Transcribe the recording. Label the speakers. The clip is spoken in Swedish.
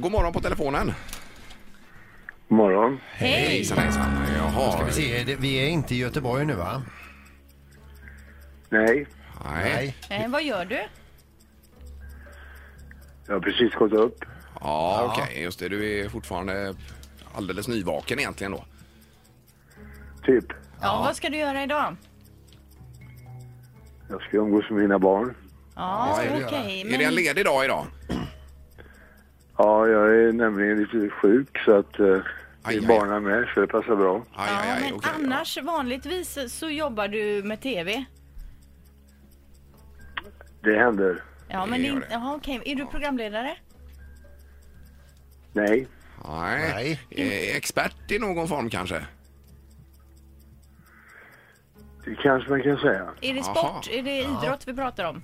Speaker 1: God morgon på telefonen.
Speaker 2: morgon.
Speaker 3: Hej!
Speaker 1: Hejsan hejsan. Jaha.
Speaker 4: Vi ser, eh, det- vi är inte i Göteborg nu va?
Speaker 2: Nej,
Speaker 1: Nej.
Speaker 3: Eh, vad gör du?
Speaker 2: jag har precis gått upp.
Speaker 1: Ja, okej. Just det. Du är fortfarande alldeles nyvaken egentligen då.
Speaker 2: Typ.
Speaker 3: Ja, vad ska du göra idag?
Speaker 2: Jag ska umgås med mina barn.
Speaker 3: Ja,
Speaker 4: ska du
Speaker 3: okej.
Speaker 4: göra.
Speaker 1: Är det en
Speaker 3: men-
Speaker 1: ledig dag idag?
Speaker 2: Ja, jag är nämligen lite sjuk så att eh,
Speaker 1: Aj, aj.
Speaker 2: det är barnen med så det passar bra.
Speaker 1: Aj,
Speaker 3: Ja,
Speaker 1: aj, aj,
Speaker 3: men
Speaker 1: okej, ja.
Speaker 3: annars vanligtvis så jobbar du med tv.
Speaker 2: Det händer.
Speaker 3: Ja,
Speaker 1: Det
Speaker 3: men det är
Speaker 1: gör
Speaker 3: inte...
Speaker 1: det.
Speaker 3: Ja, okej. Är du programledare?
Speaker 2: Nej,
Speaker 1: Nej. Eh, Expert i någon form kanske?
Speaker 2: det kanske man kan säga.
Speaker 3: Är det
Speaker 1: Jaha.
Speaker 3: sport? Är det idrott vi pratar om?